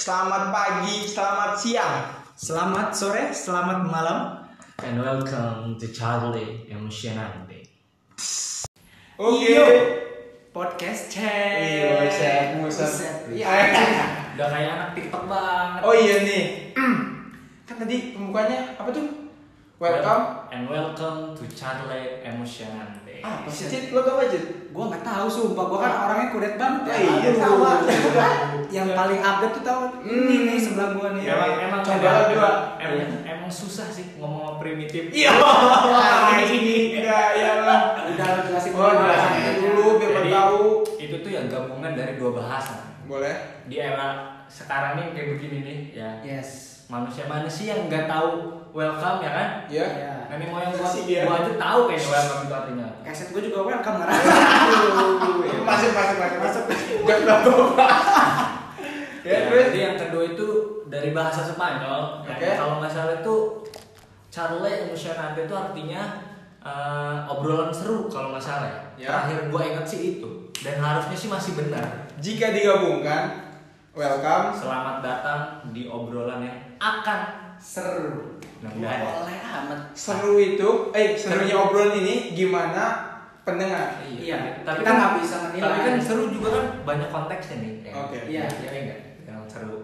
Selamat pagi, selamat siang. Selamat sore, selamat malam. And welcome to Charlie Emotionante. Oke. Iyo, Podcast chat. Iya, Buset, buset. Buset, Iya. Iya. Udah kayak anak TikTok banget. Oh iya nih. Kan tadi pembukanya apa tuh? Welcome. And welcome to Charlie Emotionante. Ah, Iya. apa sih, Cid? Lo tau aja. Gua nggak tahu sumpah, gua kan orangnya kudet banget. Oh Ah. iya, Aduh. sama. Yang paling update tuh tahu ini Hmm. nih sebelah gua nih. Iya. Emang emang Coba emang- dua. emang- Iya. emang susah sih ngomong primitif. Iya. Ini enggak ya lah. Udah lu jelasin Oh, Nah, dulu. jelasin dulu biar pada Jadi, tahu. Itu tuh ya gabungan dari dua bahasa. Boleh. Di era sekarang nih kayak begini nih ya. Iya. Yes. Manusia-manusia yang nggak tahu welcome ya kan? Ya. Iya. Nenek moyang gua, Sih, iya. dia. gua aja tahu kayaknya welcome itu artinya. Kaset gua juga welcome Iya, ngerasa. Masuk, masuk, masuk, masuk. Jangan bawa. Ya, Ya, terus. jadi yang kedua itu dari bahasa Spanyol. Oke. Ya, kalau nggak salah itu charle emocionante itu artinya eh, obrolan seru kalau nggak salah ya. Ya. Terakhir gua ingat sih itu dan harusnya sih masih benar. Jika digabungkan, welcome. Selamat datang di obrolan yang akan Seru. Nah, iya, mudahan. Boleh amat. Seru itu, eh serunya obrolan ini gimana pendengar? Iya. Tapi Kita kan nggak bisa menilai. Tapi kan seru juga kan banyak konteksnya nih. ya. Oke. Iya, iya enggak. Yang seru.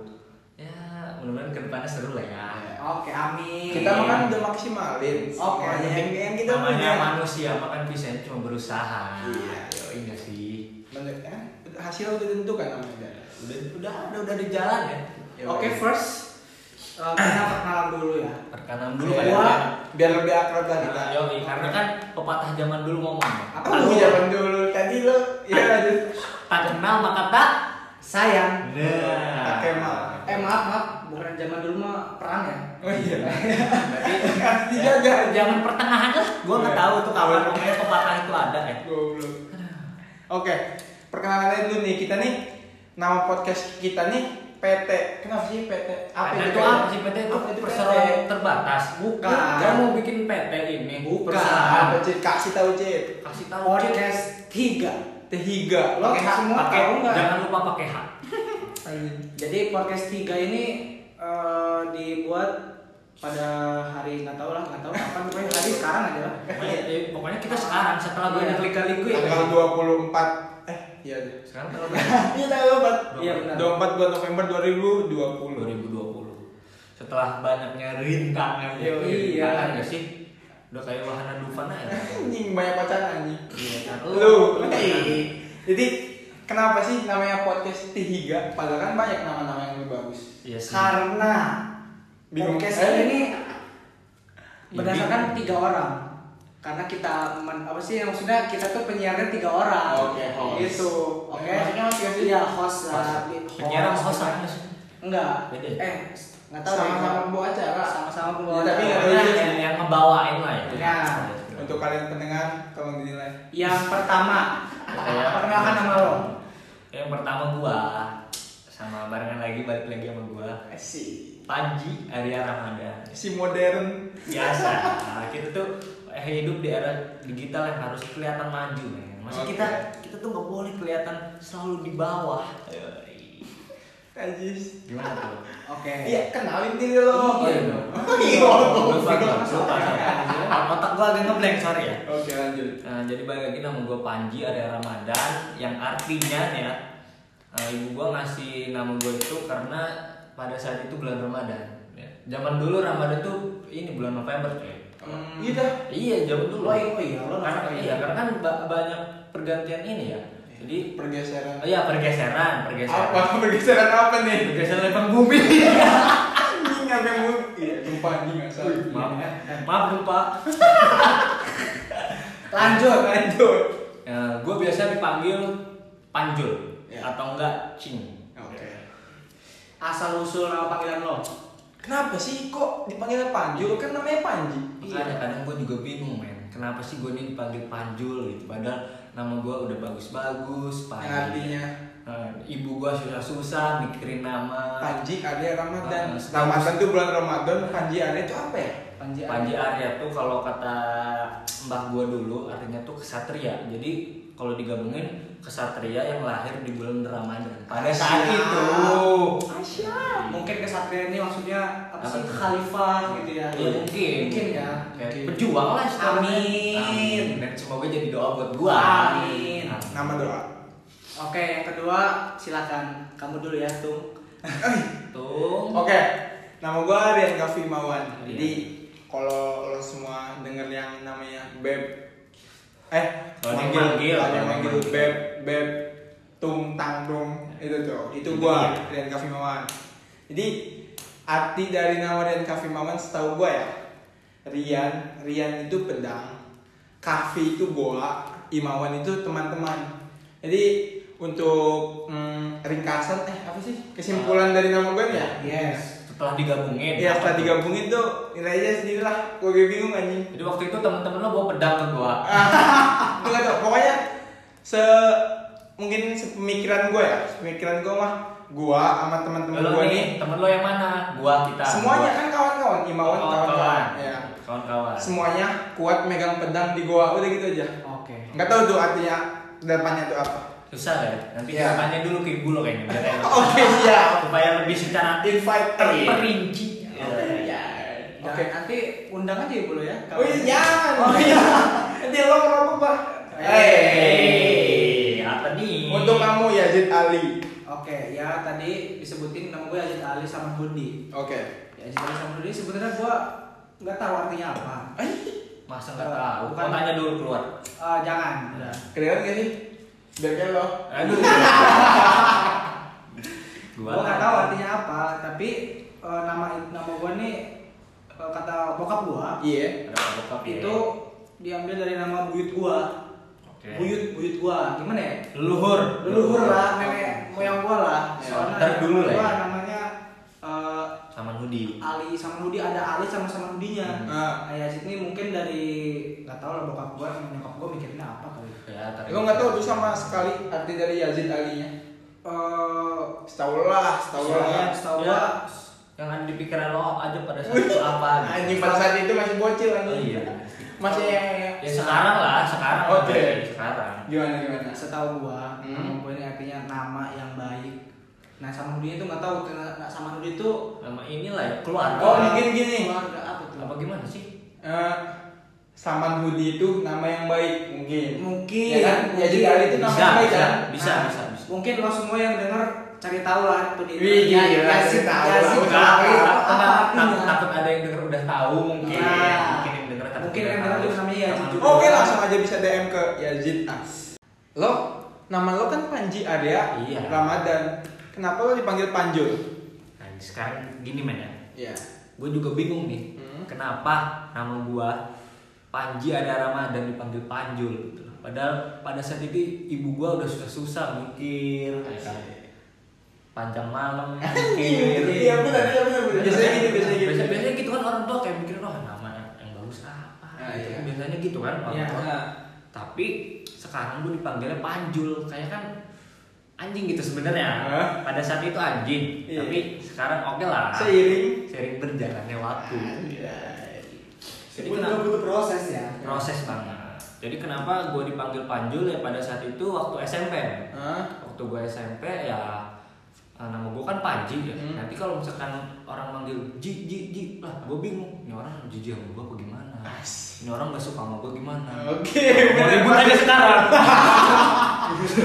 Ya, mudah-mudahan kedepannya seru lah ya. Iya. Oke, Iya. amin. Kita kan? makan udah maksimalin. Oke. Yang penting kan kita namanya punya. manusia makan bisa cuma berusaha Iya. Yoi nggak sih Lanjut, eh, Hasil udah ditentukan namanya. udah udah udah, udah di jalan ya Yoi. Oke, first eh, kita perkenalan dulu ya. perkenalan dulu Biar- kali ya Wah. biar lebih akrab lah kita. Nah, Yoi, karena kan pepatah zaman dulu ngomong ya. Apa Aku lu? zaman dulu tadi lo ya lanjut. tak kenal maka tak Sayang. Nah. Oke, Mal. Eh maaf maaf, bukan zaman dulu mah perang ya. Oh iya. berarti Harus dijaga. ya, zaman pertengahan lah gua nggak Iya. tahu tuh kapan ngomongnya pepatah itu ada ya Goblok. Oke, perkenalan dulu nih kita nih nama podcast kita nih PT. Kenapa sih PT? Karena itu itu apa sih PT itu Apa itu perseroan PT? terbatas Bukan. Gua mau bikin PT ini Bukan. Perusahaan. Apa Cid? Kasih tahu Cid. kasih tahu Cid. Podcast 3. Tiga. Lo Pakai hak. semua Pakai- tahu nggak? jangan lupa pakai hak Jadi podcast 3 ini eh, dibuat pada hari nggak tahu lah nggak tahu kapan pokoknya hari sekarang aja lah. Pokoknya, eh, pokoknya kita sekarang setelah Iya. banyak liga-liga ya. Tanggal 24 eh iya deh. Sekarang tanggal berapa? Iya tanggal 24. Iya benar. 24 bulan November 2020. 2020. Setelah banyaknya rintangan. Iya. Rintangan nggak Nah, sih? Udah kayak wahana Dufan aja. Anjing banyak pacaran anjing. Iya, kan? Lu. kan? Hey. Jadi kenapa sih namanya podcast Tihiga? Padahal kan banyak nama-nama yang lebih bagus. Iya sih. Karena Bingung. Iya, podcast Eh. ini berdasarkan tiga orang. Karena kita men- apa sih yang maksudnya kita tuh penyiarnya tiga orang. Oke, host. Gitu. Oke. Eh, maksudnya host nggak sih? Iya, host. lah. Penyiaran host apa sih? Enggak. Beda ya? Eh, nggak tahu. deh. Sama-sama pembawa acara. Sama-sama pembawa Ya, tapi nggak acara. ada Pokoknya ujung. yang, yang ngebawain lah ya. Ya. Untuk kalian pendengar tolong dinilai. Yang pertama, Kayak- perkenalkan nama lo. Yang pertama gua sama barengan lagi balik lagi sama gua Si Panji Arya Ramadan. si modern. biasa kita tuh eh, hidup di era digital yang harus kelihatan maju men masa Oke. kita kita tuh nggak boleh kelihatan selalu di bawah Yoi. Ajis. gimana tuh Oke. Iya, kenalin diri lo. Iya dong. Oh, iya. lupa gua, lupa otak gua agak ngeblank sorry ya Oke, lanjut. Nah, jadi balik lagi nama gue Panji Arya Ramadan yang artinya nih ya eh, ibu gue ngasih nama gue itu karena pada saat itu bulan Ramadan ya. zaman dulu Ramadan tuh ini bulan November cuy Hmm. Gitu. Iya, zaman dulu. Oh, iya, oh iya, lo karena, nonton. iya, karena kan ba- banyak pergantian ini Iya. ya. Jadi pergeseran. oh iya pergeseran, pergeseran. Apa pergeseran apa nih? Pergeseran lempeng bumi. Anjing apa yang mau? Iya, lupa anjing nggak salah. maaf, eh, maaf lupa. Lanjut. Lanjut. Ya, gue biasa dipanggil Panjul Ya. atau enggak Cing. Oke. Asal usul nama panggilan lo. Kenapa sih kok dipanggil Panjul? Kan namanya Panji. Iya. Makanya kadang gue juga bingung men, kenapa sih gue ini dipanggil Panjul gitu, padahal nama gue udah bagus-bagus, Yang Panji. artinya Nah, ibu gue susah-susah mikirin nama. Panji ada Ramadan. Ah, Ramadan tuh bulan Ramadan, Panji ada itu apa ya? Panji. Panji Arya tuh kalau kata mbah gua dulu artinya tuh kesatria. Jadi kalau digabungin kesatria yang lahir di bulan Ramadan. Pada Asyik. saat itu Asya. Mungkin kesatria ini maksudnya apa sih Apa? khalifah gitu ya? Iya, mungkin. Mungkin ya. kayak Oke. pejuang lah istilahnya. Amin. Dan semoga jadi doa buat gua. Amin. nama doa Oke, yang kedua silakan kamu dulu ya, Tung. Tung. Oke, nama gue Rian Gavi Mawan. Rian. Jadi kalau lo semua denger yang namanya Beb, eh Kalau manggil- dipanggil, ada yang kalau manggil dipanggil. Beb, Beb, Tung Tang Dong itu tuh, itu Itu gue Rian Gavi Mawan. Jadi arti dari nama Rian Gavi Mawan setahu gue ya, Rian, Rian itu pedang, Kavi itu bola, Imawan itu teman-teman. Jadi untuk mm, ringkasan, eh apa sih kesimpulan dari nama gue ya? Oh Yes. Setelah digabungin. Ya setelah digabungin tuh nilainya sendiri lah, gue juga bingung anjing. Jadi waktu itu teman-teman lo bawa pedang ke gua. Ah, Enggak tuh, pokoknya se mungkin sepemikiran gue ya, pemikiran gue mah gue sama teman-teman Lo gue nih, nih, temen lo yang mana? Gua kita. semuanya kan kawan-kawan, imawan kawan-kawan, ya. Kawan-kawan. Semuanya kuat megang pedang di gua, udah gitu aja. Oke. Nggak tahu tuh artinya depannya tuh apa. Susah ya. Nanti Iya. kita tanya dulu ke ibu lo kayaknya. biar enak. Oke iya. siap. Supaya lebih secara Invite terperinci. Iya. Dan Oke. nanti undang aja ibu lo ya. Oh iya. Oh iya. Nanti lo ngerokok bah. Hey, apa Iya. nih? Untuk kamu Yazid Ali. Oke, ya tadi disebutin nama gue Yazid Ali sama Budi. Oke. Ya Yazid Ali sama Budi sebenarnya gue nggak tahu artinya apa. masa nggak tahu? Eh, Bukan. Kau tanya dulu keluar. Eh, jangan. Udah. Kedengeran gak sih? Biar kayak lo. Aduh. Gue nggak tahu artinya apa, tapi eh, nama nama gue nih eh, kata bokap gue Iya. Ada apa bokap ya? itu diambil dari nama buyut gue. Oke. Buyut buyut gue gimana ya? leluhur. leluhur lah nenek moyang gua lah Ya, soalnya ntar dulu lah ya. gua namanya eh, Sama Nudi. Ali sama Nudi ada Ali sama sama Hmm. Nudinya Ah. nah Yazid ini mungkin dari nggak tahu lah bokap gua sama nyokap gua mikirnya apa kali Ya, tarik. Lo nggak tahu tuh sama sekali arti dari Yazid Ali-nya? Oh, Eh, Setahu lah, setahu soalnya lah. setahu Ya, gua yang ada di pikiran lo aja pada saat itu apa? gitu. Anjing pada saat itu masih bocil kan? Oh, iya. Masih Ya sekarang lah, sekarang. Oke. berarti, Sekarang. gimana gimana? setahu gua Hmm. nama gua ini artinya nama yang baik nah sama Nudi itu nggak tahu ternyata- nah, sama Nudi itu Nama inilah ya keluarga. Oh, mungkin gini. keluarga apa gitu? tuh Apa gimana sih? Eh, Saman Hudi itu nama yang baik mungkin. mungkin Ya kan? Yazid Ali itu nama yang baik bisa, kan? bisa, Nah, bisa, iya, bisa. Mungkin lo semua yang denger cari tahu lah itu Ya, di Wih, gila, Yazid, cari tahu lah. Yazid, Udah, udah, Ali, ya, apa Takut- takut, artinya? takut ada yang denger udah tahu mungkin. Nah. Mungkin yang denger takut Mungkin udah yang denger tahu. juga namanya ya, Yazid Sama juga. Nah, Oke langsung aja bisa DM ke Yazid As. Lo nama lo kan Panji Arya Iya. Ramadan. Kenapa lo dipanggil Panjul? Nah, sekarang gini men ya. Iya. Gue juga bingung nih. Hmm. Kenapa nama gua Panji ada Ramadan dipanggil Panjul gitu loh. Padahal pada saat itu ibu gua udah susah-susah mikir. ya kan? Panjang malam mikir. Iya benar iya benar benar. Biasanya gitu biasanya gitu. Biasanya, biasanya gitu kan orang tua kayak mikir oh nama yang bagus apa. Ah, gitu. iya. Biasanya gitu kan orang Iya. tua. Nah, Tapi sekarang gue dipanggilnya Panjul, kayak kan anjing gitu sebenarnya. Hah? Pada saat itu anjing, Iya. tapi sekarang oke lah. Seiring. Sering berjalannya waktu. Jadi Butuh- kenapa butuh proses ya. proses banget. Jadi kenapa gue dipanggil Panjul ya pada saat itu waktu SMP. Hah? Waktu gue SMP ya eh, nama gue kan Panji ya. Hmm. Nanti kalau misalkan orang manggil Ji Ji Ji lah, gue bingung. Ini orang jijik sama gue apa gimana? As. Ini orang gak suka sama gue gimana? Oke, Mau benar. ribut aja sekarang.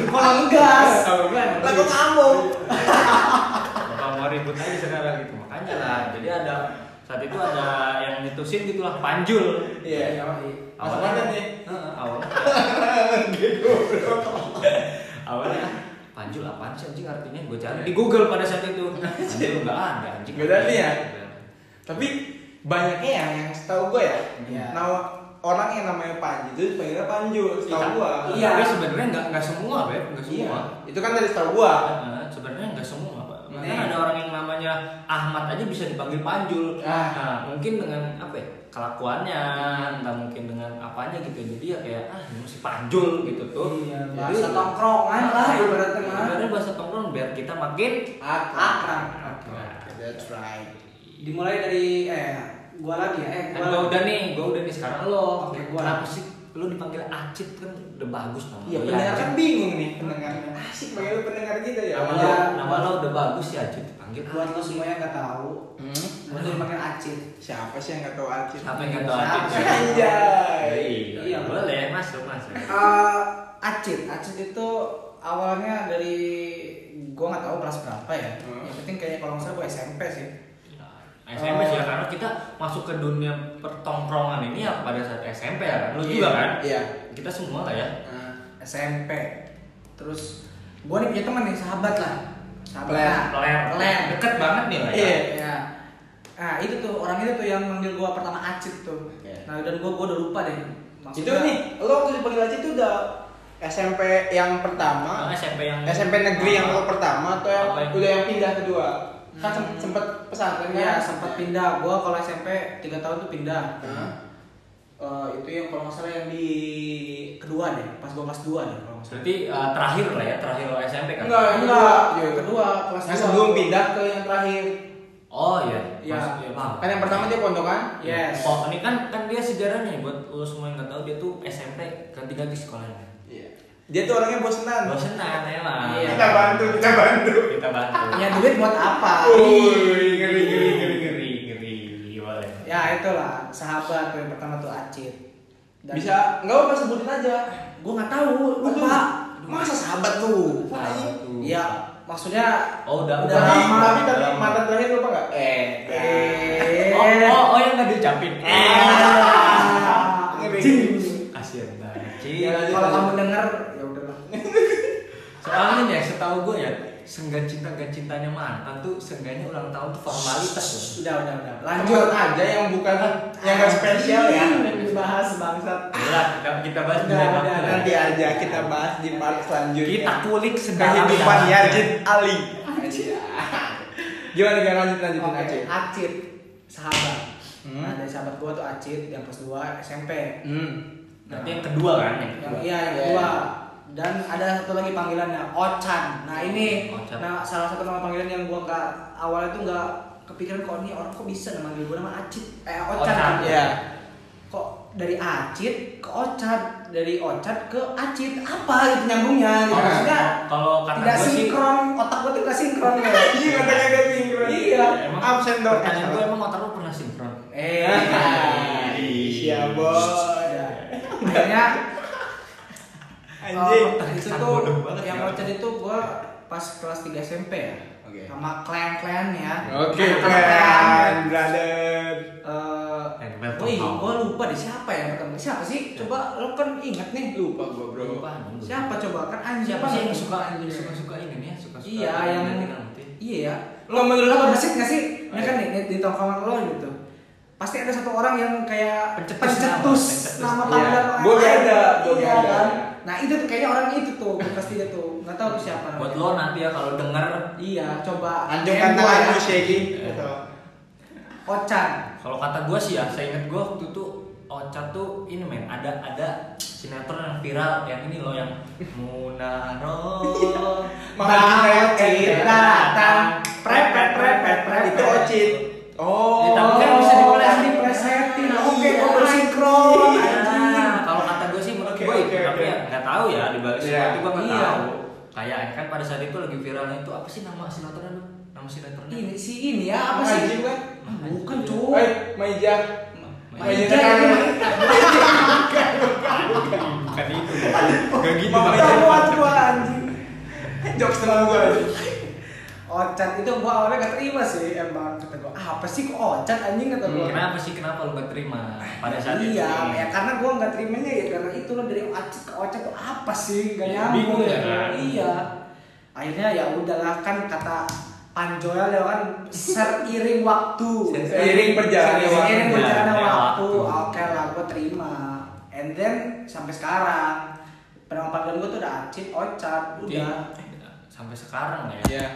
Kalau enggak, Lah kok ngambung? Bapak mau ribut aja sekarang gitu makanya lah jadi ada saat itu ada yang nyetusin gitulah panjul Iya. Mas Ramadan awalnya ya? Heeh, awalnya Gitu. awalnya panjul apaan sih anjing artinya gue cari di Google pada saat itu panjul nggak ada anjing Iya. Iya. Nggak ada nih ya? Tapi banyaknya ya yang setahu gue ya. Iya. Nah, orang yang namanya Panji itu dipanggilnya Panjul, setahu gue. Iya. tapi sebenarnya nggak nggak semua beb nggak semua Itu kan dari setahu gue. Heeh, sebenarnya nggak semua pak makanya Nih. ada orang yang namanya Ahmad aja bisa dipanggil Panjul Ah. nah, mungkin dengan apa ya kelakuannya entah mungkin dengan apanya gitu jadi ya kayak ah ini si Panjul gitu tuh Iya, Jadi, bahasa tongkrongan lah ibaratnya mah. ibaratnya bahasa tongkrong biar kita makin Akrab. That's right. Dimulai dari eh gua lagi ya. Eh, kan gua gua lagi. udah nih gua udah nih sekarang lo Oke, gua. kenapa sih lo dipanggil Acit kan udah bagus nama Iya, lo, pendengar Jud. kan bingung nih pendengarnya. Asik banget pendengar kita ya. nama Iya. lo nama lo udah bagus ya Jud dipanggil buat lo semua yang nggak tahu Hmm? lo tuh pakai acit Siapa sih yang nggak tahu Acit? Siapa yang nggak tahu Acit? Anjay. Iya, boleh masuk masuk. Eh, acit acit itu awalnya dari gua nggak tahu kelas berapa ya Hmm. yang penting kayaknya kalau nggak salah gua SMP sih SMP sih ya, karena kita masuk ke dunia pertongkrongan ini ya pada saat SMP ya kan? Lu juga Iya. kan? Iya. Kita semua lah ya. Nah, SMP terus gua nih punya teman nih sahabat lah sahabat Len, lah. Ler, Len. deket banget nih lah ya. Iya. ya nah itu tuh orang itu tuh yang manggil gua pertama acit tuh Iya. nah dan gua gua udah lupa deh Itu nih, lo waktu dipanggil Acit itu udah SMP yang pertama, Nah, SMP yang SMP negeri yang lo pertama atau yang Apa yang- udah yang pindah kedua? Kan Hmm. sempat pesantren ya kan? sempat pindah gua kalau SMP 3 tahun tuh pindah Hah? Eh, itu yang kalau nggak salah yang di kedua deh pas gua kelas 2 deh kalau nggak salah Berarti eh, terakhir lah ya, terakhir lo SMP kan? Enggak. enggak Iya. yang kedua kelas Nah, 2 sebelum pindah ke yang terakhir. Oh iya. Iya. Masuk, iya, paham. Kan yang pertama dia pondokan. yes Oh, ini kan kan dia sejarahnya ya, buat lo semua yang nggak tahu dia tuh SMP ganti-ganti sekolahnya. Iya. Dia tuh orangnya bosenan. Bosen lah, emang. Iya. Kita bantu, kita bantu. Kita bantu. punya Ya, duit buat apa Oh. Wuih, ngeri, ngeri, ngeri, ngeri. ngeri, boleh. ya itulah sahabat tuh yang pertama tuh acit Dan- Bisa enggak apa sebutin aja. gua nggak tahu lupa Aduh, Masa sahabat lu? Sahabat lu. ya maksudnya Oh, udah, Udah Tapi, lama. tapi, tapi Udah lama. mantan terakhir lupa enggak? Eh. eh Oh, oh, oh yang nggak diucapin. Ah. Anjing. Kasian banget. Ci. Iya, Ya, kalau kamu denger ya udahlah Soalnya nih, ya, setahu gue ya, senggan cinta gak cintanya mantan tuh sengganya ulang tahun tuh formalitas loh. udah udah udah Lanjut lanjut aja yang bukan yang enggak spesial ya. dibahas bangsat Udah, kita, kita bahas di Udah, lain udah, waktu lah. Nanti aja kita bahas di part selanjutnya. Kita kulik sedalam kehidupan Yazid Ali. Gimana gimana lanjut lanjutin aja. Oke, Acit sahabat. Hmm. Nah dari sahabat gua tuh Acit yang kelas 2 SMP. Hmm. Nanti yang kedua kan? Yang Yang kedua. iya yang Iya. kedua. Dan ada satu lagi panggilannya Ocan. Nah ini, Ocan. nah salah satu nama panggilan yang gua nggak awalnya tuh nggak kepikiran kok ini orang kok bisa nama manggil gua nama Acit, eh Ocan. Ocan, kan? iya. Kok dari Acit ke Ocan, dari Ocan ke Acit apa gitu nyambungnya? Gitu. Oh, Maksudnya Kalau kata tidak gue sih, sinkron, otak gua tuh tidak sinkron. ya. Iya katanya dia sinkron. Iya. ya, emang Absen dong. Pertanyaan gue emang otak lo pernah sinkron? Eh, Iya boy. ya. akhirnya Anjing. Oh, itu Terkesan tuh bodoh banget yang ya. voucher itu gua pas kelas 3 SMP ya. Oke. Sama klien-klien ya. Oke, Anak-anak keren, brother. Eh, And welcome wih, home. gua lupa deh siapa yang ketemu. Siapa sih? Coba lo kan inget nih. Ya. Lupa gua, bro. Siapa coba kan anjing Siapa sih yang suka suka suka ini ya? Suka suka. Iya, yang Iya ya. Lo menurut Lo lo bersit gak Oh, sih? Ini kan nih di- di tongkrongan lo gitu. Pasti ada satu orang yang kayak Pencetus pencetus nama, nama pencetus. panggilan Iya. orang Gua lain. ada, gua Iya ada. kan? Nah, itu tuh kayaknya orang itu tuh pasti dia tuh. Enggak tahu siapa. namanya. Buat lo nanti ya kalau denger Iya, coba Anjungkan DM gua tangan ya. lu shaking. Iya. Gitu. Ocan. kalau kata gue sih ya, saya inget gue waktu itu Ocat tuh ini men ada ada sinetron yang viral yang ini loh yang Iya, Munaro Makan Bang kita, Ocit kita. datang prepet prepet prepet. Itu ocit. Ya, tapi kan bisa dipoles. Oh, dipresetin. Nah, Oke, iya. kok bersinkron Iya. anjing. Nah, kalau kata gue sih menurut Oke, gue itu oke, tapi oke. ya nggak tahu ya di balik semua Iya. itu gue nggak Iya. tahu. Kayak kan pada saat itu lagi viralnya itu apa sih nama sinetronnya lu? Nama sinetronnya? Ini si ini ya apa sih? Anjing kan? Bukan, cuy. Oi, Maija. Maija. Maija kan? Bukan itu. Gak gitu. Mama Maija. jawab gua anjing. Jokes teman gua. Ocat itu gua awalnya gak terima sih emang kata gua apa sih kok ocat anjing kata Hmm, gua. Kenapa sih kenapa lu gak terima pada saat itu? iya, ya karena gua nggak terimanya ya karena itu lo dari acit ke ocat tuh apa sih nggak Iya, nyambung bingung ya kan? Iya. Akhirnya ya udahlah kan kata Panjoya ya kan seiring waktu. Seiring berjalannya Seiring waktu. berjalannya Berjalannya waktu. waktu. Oke lah gua terima. And then sampai sekarang penama panggilan gua tuh udah acit, ocat, Jadi, eh, udah. sampai sekarang lah ya. Iya.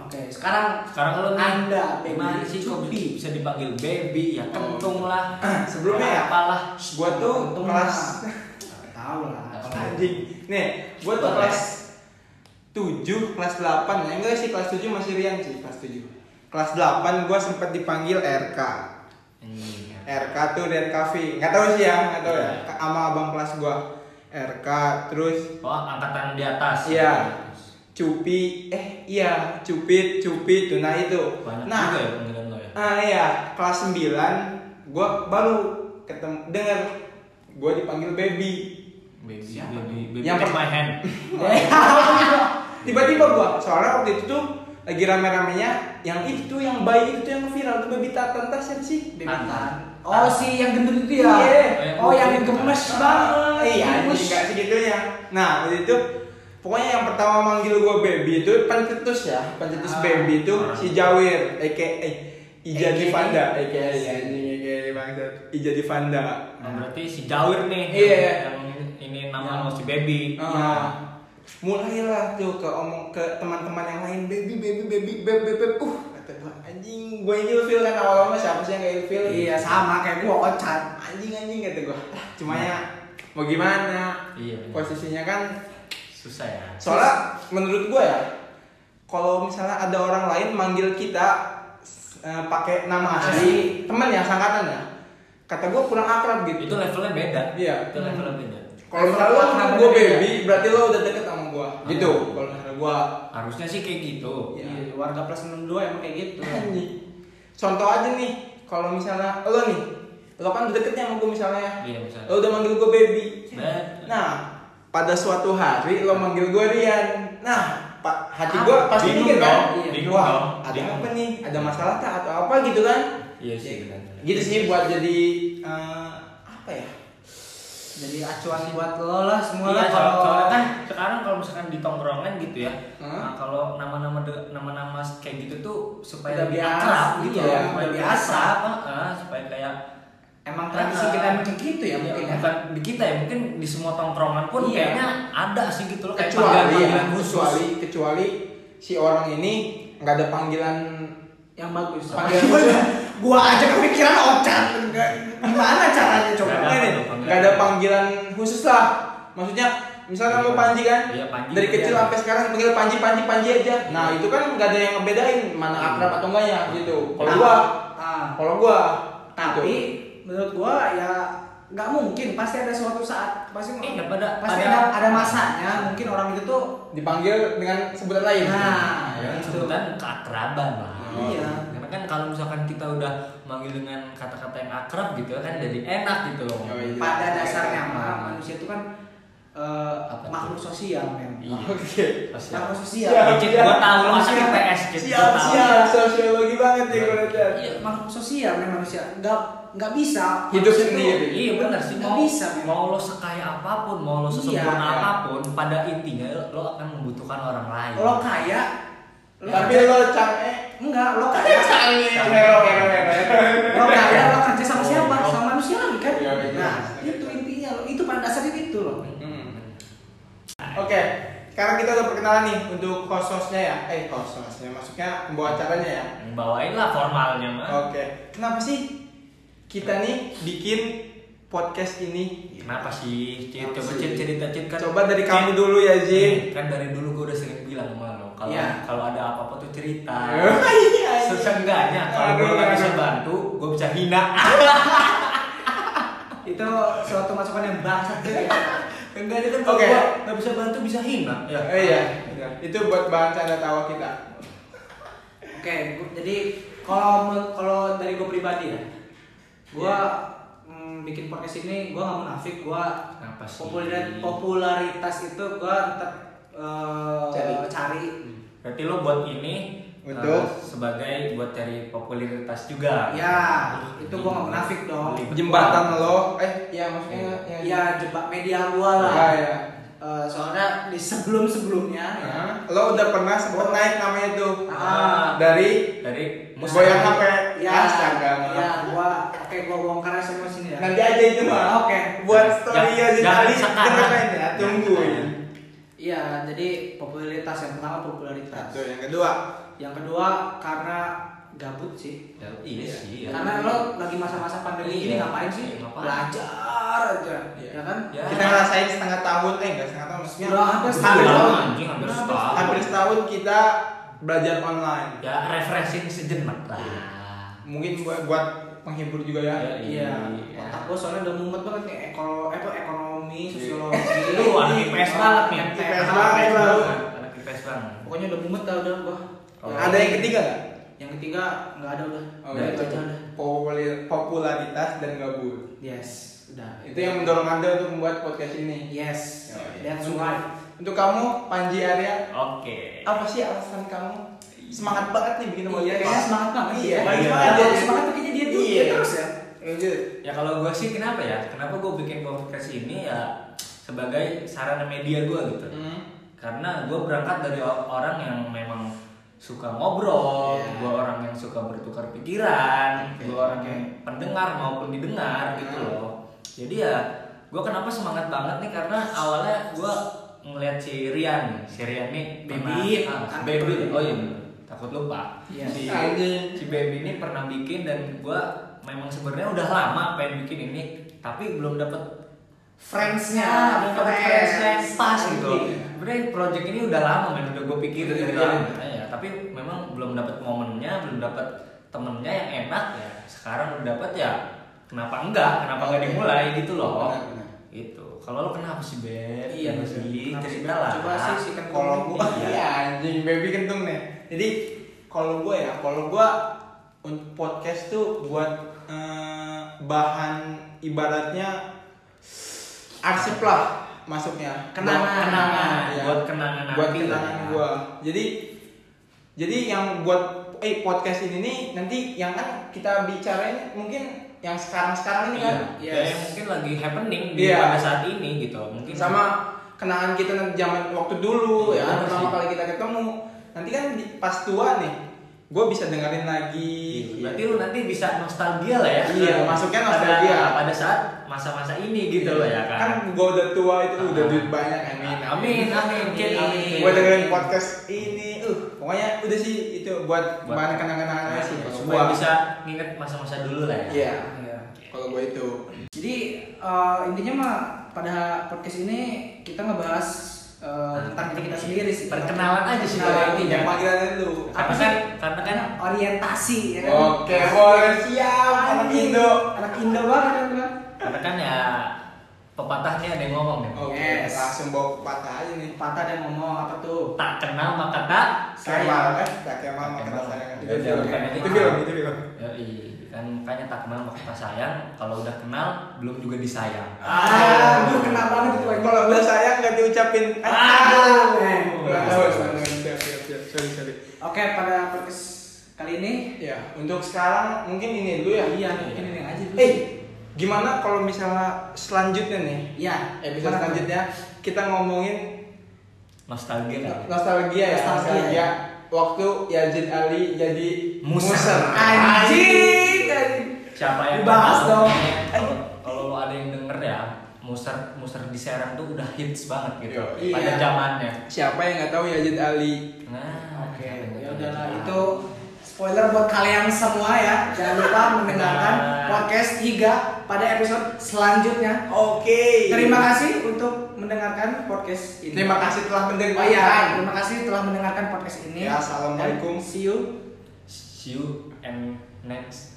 Oke, sekarang Sekarang lu nih, Anda, baby. gimana sih kok Cupi. Oh. bisa dipanggil baby ya kentung lah. Sebelumnya ya? apalah. Gua tuh untung kelas lah. Nggak tahu lah. kalau- anjing. Nih, gua tuh Boleh. kelas 7, kelas 8 ya. Enggak sih kelas 7 masih Rian sih, kelas 7. Kelas 8 gua sempat dipanggil RK. Anjing. RK tuh dan Kavi nggak tahu sih ya nggak tahu ya Ka- sama abang kelas gua RK terus oh angkatan di atas Iya. Cupi eh iya Cupit Cupit nah itu banyak nah juga ya panggilan lo ya ah iya kelas 9 gue baru ketemu dengar gue dipanggil baby baby Siapa? baby baby Yang take per- my hand tiba-tiba gue soalnya waktu itu tuh lagi rame-ramenya yang itu tuh yang bayi itu tuh yang viral tuh baby tatan tas siapa sih Baby Tangan. Tan. Oh si yang gendut itu ya? Iya. Ah. Oh yang gemes banget. iya Gemes. enggak segitunya nah waktu itu pokoknya yang pertama manggil gue baby itu pencetus ya pencetus Ah. baby itu si Jawir aka eh, Ija AKA. Divanda Iya, aka anjing aka bangsat Ija Divanda Nah, berarti si Jawir nih Iya. yang ini nama lo si baby Nah, mulailah tuh ke omong ke teman-teman yang lain baby baby baby baby baby uh kata gue anjing gue yang ilfil kan awal-awalnya siapa sih yang gak ilfil Iya sama kayak gua ocat. anjing anjing kata gue cuma ya mau gimana Iya, bener. posisinya kan susah ya soalnya menurut gue ya kalau misalnya ada orang lain manggil kita eh, pakai nama asli teman ya sangkatan ya kata gue kurang akrab itu gitu levelnya beda Iya. itu levelnya beda kalau misalnya lo Kenapa gue beda? baby berarti lo udah deket sama gue gitu kalau misalnya gue harusnya sih kayak gitu Iya. Iya, Warga plus 62 emang kayak gitu. anjing. contoh aja nih kalau misalnya lo nih lo kan udah deketnya sama gue misalnya ya. Iya, misalnya. lo udah manggil gue baby Nah. nah pada suatu hari lo manggil gue Rian nah pak hati gue Apa? pasti mikir Bingung dong, kan iya. bingung dong, wah ada bingung. apa nih ada masalah tak atau apa gitu kan Iya sih, benar. gitu sih buat jadi eh, apa ya Jadi acuan buat lo lah semua lah Iya, kalau kalau soalnya kan sekarang kalau misalkan di tongkrongan gitu ya, Hah? nah, kalau nama-nama de- nama-nama kayak gitu tuh supaya Udah lebih biasa, akrab gitu, iya, supaya udah lebih biasa. akrab, ah, supaya kayak emang Ah. tradisi kita emang kayak gitu ya mungkin ya. bukan di kita ya mungkin di semua tongkrongan pun Iya. kayaknya ada sih gitu loh kayak kecuali ya, panggilan-panggilan khusus. kecuali kecuali si orang ini nggak ada panggilan Yang bagus. panggilan khusus. gua aja kepikiran ocat. Gimana caranya coba? Nggak Nggak ada tuh ada, panggilan. nggak ada panggilan khusus lah maksudnya misalnya nama Panji kan Iya, Panji. dari kecil Iya. sampai sekarang panggil Panji Panji Panji aja nah itu kan nggak ada yang ngebedain mana Iya. akrab atau enggaknya gitu kalau Nah, gua ah, kalau gua tapi gitu. menurut gua ya nggak mungkin pasti ada suatu saat pasti Iya, pada- pasti pada- ada, ada masanya mungkin orang itu tuh dipanggil dengan sebutan lain Nah, Ya. Yang Gitu. sebutan keakraban lah. Iya. Karena kan kalau misalkan kita udah manggil dengan kata-kata yang akrab gitu kan jadi enak gitu loh. Oh, Yoi. Iya. pada dasarnya mah manusia itu kan eh, Apa tuh? makhluk sosial memang. oke Pasti. Makhluk sosial. Siap, Cip, gua siap. tahu lo anak Siap. IPS Cip, gua siap tahu. siap sosiologi banget nih gua lihat Iya, makhluk sosial memang manusia. Nggak nggak bisa Hidup manusia tuh- sendiri. Iya benar sih Nggak mau bisa. Memang. mau lo sekaya apapun, mau lo sesempurna Iya. apapun, pada intinya lo akan membutuhkan orang lain. Lo kaya, lo tapi kerja- lo eh, canggih enggak lo kaya. canggih Canggih. hero hero hero lo kaya lo kerja sama siapa? Lo- Sama manusia lagi kan? Iya, iya. Nah, itu intinya lo. Itu pada dasarnya itu lo. Hmm. Oke, sekarang kita udah perkenalan nih untuk host-hostnya ya. Eh, host-hostnya maksudnya pembawa acaranya ya. Yang bawain lah formalnya mah. Oh. Oke, kenapa sih kita nih bikin podcast ini? Kenapa sih? Cip? Kenapa coba sih? Cip, cerita Cip kan. Coba dari kamu dulu ya, Ji. Kan dari dulu gue udah sering bilang sama lo kalau Iya. kalau ada apa-apa tuh cerita. Iya, iya. Sesenggannya kalau gue Aduh, nggak bisa aduh. bantu, gue bisa hina. Ah, Itu suatu masukan yang bangsat gitu ya. Enggak ada kan kalau kalau gua nggak bisa bantu bisa hina. Ya. Eh, iya. Itu buat bahan canda tawa kita. Oke, gua- jadi kalau men- kalau dari gue pribadi ya, gue Iya. bikin podcast ini gue nggak munafik, gue Kenapa sih? popularitas, popularitas itu gue tetap eh, Cari. cari. Berarti lo buat ini Untuk? Iya. eh, sebagai buat cari popularitas juga. Ya, itu gua nggak munafik dong. Beli Jembatan lo, eh, iya maksudnya yang Ya jebak media gue lah. Iya, iya. Eh, soalnya di sebelum sebelumnya, Nah, Lo udah pernah sempet naik namanya tuh Ah. dari dari goyang HP. ya, Astaga. ya gue oke gue bongkar aja semua sini ya. Nanti aja itu mah. Oke. Buat story Jangan- aja jadi jangan sekarang. dengerin ya, Jangan tungguin. sekarang. Iya, jadi popularitas yang pertama popularitas. Satu, yang kedua. Yang kedua karena gabut sih. Ya, iya sih. Ya. Karena lo lagi masa-masa pandemi Iya. ini ngapain sih? Iya, ngapain. Belajar aja, Iya. ya kan? Ya. Kita ngerasain setengah tahun, eh enggak setengah tahun maksudnya. Udah hampir hampir setahun. setahun. anjing hampir Kenapa? setahun. Hampir setahun kita belajar online. Ya refreshing sejenak lah. Mungkin buat buat penghibur juga ya. Ya, Iya. Otak gue soalnya udah mumet banget nih ekolo, eh, apa ekonomi ekonomi, sosiologi. Lu Iya. anak IPS banget nih. MTH. IPS banget lu. Anak IPS banget. Pokoknya udah mumet dah udah gua. Oh. Ya, Ada yang ketiga nggak? Yang ketiga nggak ada udah. Oh, Udah, itu itu aja udah. Populi- popularitas dan gabut. Yes, udah. Itu yang mendorong Anda untuk membuat podcast ini. Yes. Oh, iya. That's why. Untuk kamu Panji Arya, Oke. apa sih alasan kamu semangat banget nih bikin Iya, podcast? kayaknya semangat banget sih. Iya, Bagi iya. semangat, jadi semangat tuh kayaknya dia tuh Iya. dia terus ya. Lanjut. Ya kalau gue sih kenapa ya? Kenapa gue bikin podcast ini ya sebagai sarana media gue gitu. Hmm. Hmm. Karena gue berangkat dari o- orang yang memang suka ngobrol, Iya. gue orang yang suka bertukar pikiran, Oke. gue orang yang pendengar maupun didengar gitu Hmm. loh. Jadi ya gue kenapa semangat banget nih karena awalnya gue ngeliat si Rian nih, si Rian nih pernah- Bebit. ah, si Bebit, oh iya bener. takut lupa. Kan Iya. Si, Anjing. si Bebit ini pernah bikin dan gue memang sebenarnya udah lama pengen bikin ini, tapi belum dapet Friends-nya, Ah, dapet friends. friends-nya yang pas gitu Iya. sebenarnya project ini udah lama men udah gue pikirin dari Iya. lama ya, tapi memang belum dapat momennya belum dapat temennya yang enak ya sekarang udah dapat ya kenapa enggak kenapa enggak dimulai gitu loh Iya, Benar, benar. gitu kalau lo kenapa sih Beb Iya, Kenapa benar. sih Kenapa sih, cerita Beb? lah Coba sih, si Ken Kan Kalau gua Iya. iya anjing baby kentung nih. Jadi kalau gua ya, kalau gua untuk podcast tuh buat eh, bahan ibaratnya arsip lah masuknya. Kenangan. Buat- kenangan Iya. buat kenangan buat nanti kenangan lah. gua. Jadi jadi yang buat eh podcast ini nih nanti yang kan kita bicarain mungkin yang sekarang-sekarang ini iya kan ya, Yes. yang mungkin lagi happening di Iya. pada saat ini gitu mungkin sama kenangan kita nanti zaman waktu dulu Iya, ya bener pertama sih. kali kita ketemu nanti kan di- pas tua nih gue bisa dengerin lagi Iya, Berarti lu nanti bisa nostalgia lah ya. Iya, masuknya nostalgia. Pada, pada saat masa-masa ini gitu loh ya kan. kan gue udah tua itu Ah. udah duit banyak amin Amin, amin, Kin, amin. gue dengerin podcast ini uh pokoknya udah sih itu buat, Buat- bahan kenangan aja sih gue supaya bisa nginget masa-masa dulu lah ya. iya Iya. kalau gue itu Jadi eh, intinya mah pada podcast ini kita ngebahas eh, tentang diri kita sendiri sih. Perkenalan aja sih Perkenalan. kalau intinya. yang panggilan dulu Karena Apa kan sih? karena kan orientasi ya kan. oke boleh siap anak Anjing, Indo Anak Indo banget kan. gua. karena kan ya pepatahnya ada yang ngomong nih. oke Yes. langsung bawa patah aja nih Patah dan ngomong apa tuh? Tak kenal maka tak. Kemal, eh, tak Kemal mah kata Kemal. sayang. Itu film, kan? Itu film, itu film. Yoi, kan makanya tak kenal maka tak sayang. Kalau udah kenal belum juga disayang. Ah, aduh kena banget itu lagi. Kalau udah sayang nggak diucapin. Aduh. Eh, Bagus, bagus, bagus. bagus. Siap, siap, siap. Sorry, sorry. Oke, pada podcast kali ini Ya, untuk sekarang mungkin ini dulu ya. Iya, mungkin ini aja dulu. Eh, gimana kalau misalnya selanjutnya nih? Iya, Episode selanjutnya kita ngomongin Nostalgia kan. nostalgia ya, Nostalgia. nostalgia. Waktu Yazid Ali jadi Muser. Anjing. anjing. siapa yang Dibahas tahu, dong. kalau kalau lo ada yang denger ya muser muser di Serang tuh udah hits banget gitu Iya. pada zamannya Siapa yang nggak tahu Yazid Ali? nah Oke, siapa yang ya tahu udahlah Yazid itu spoiler buat kalian semua ya. Jangan lupa mendengarkan Nah. podcast Higa pada episode selanjutnya. Oke. Terima kasih untuk mendengarkan podcast ini. Iya. Terima kasih telah Oh mendengarkan. iya, terima kasih telah mendengarkan podcast ini. Ya, assalamualaikum. And See you. Ali? see you and next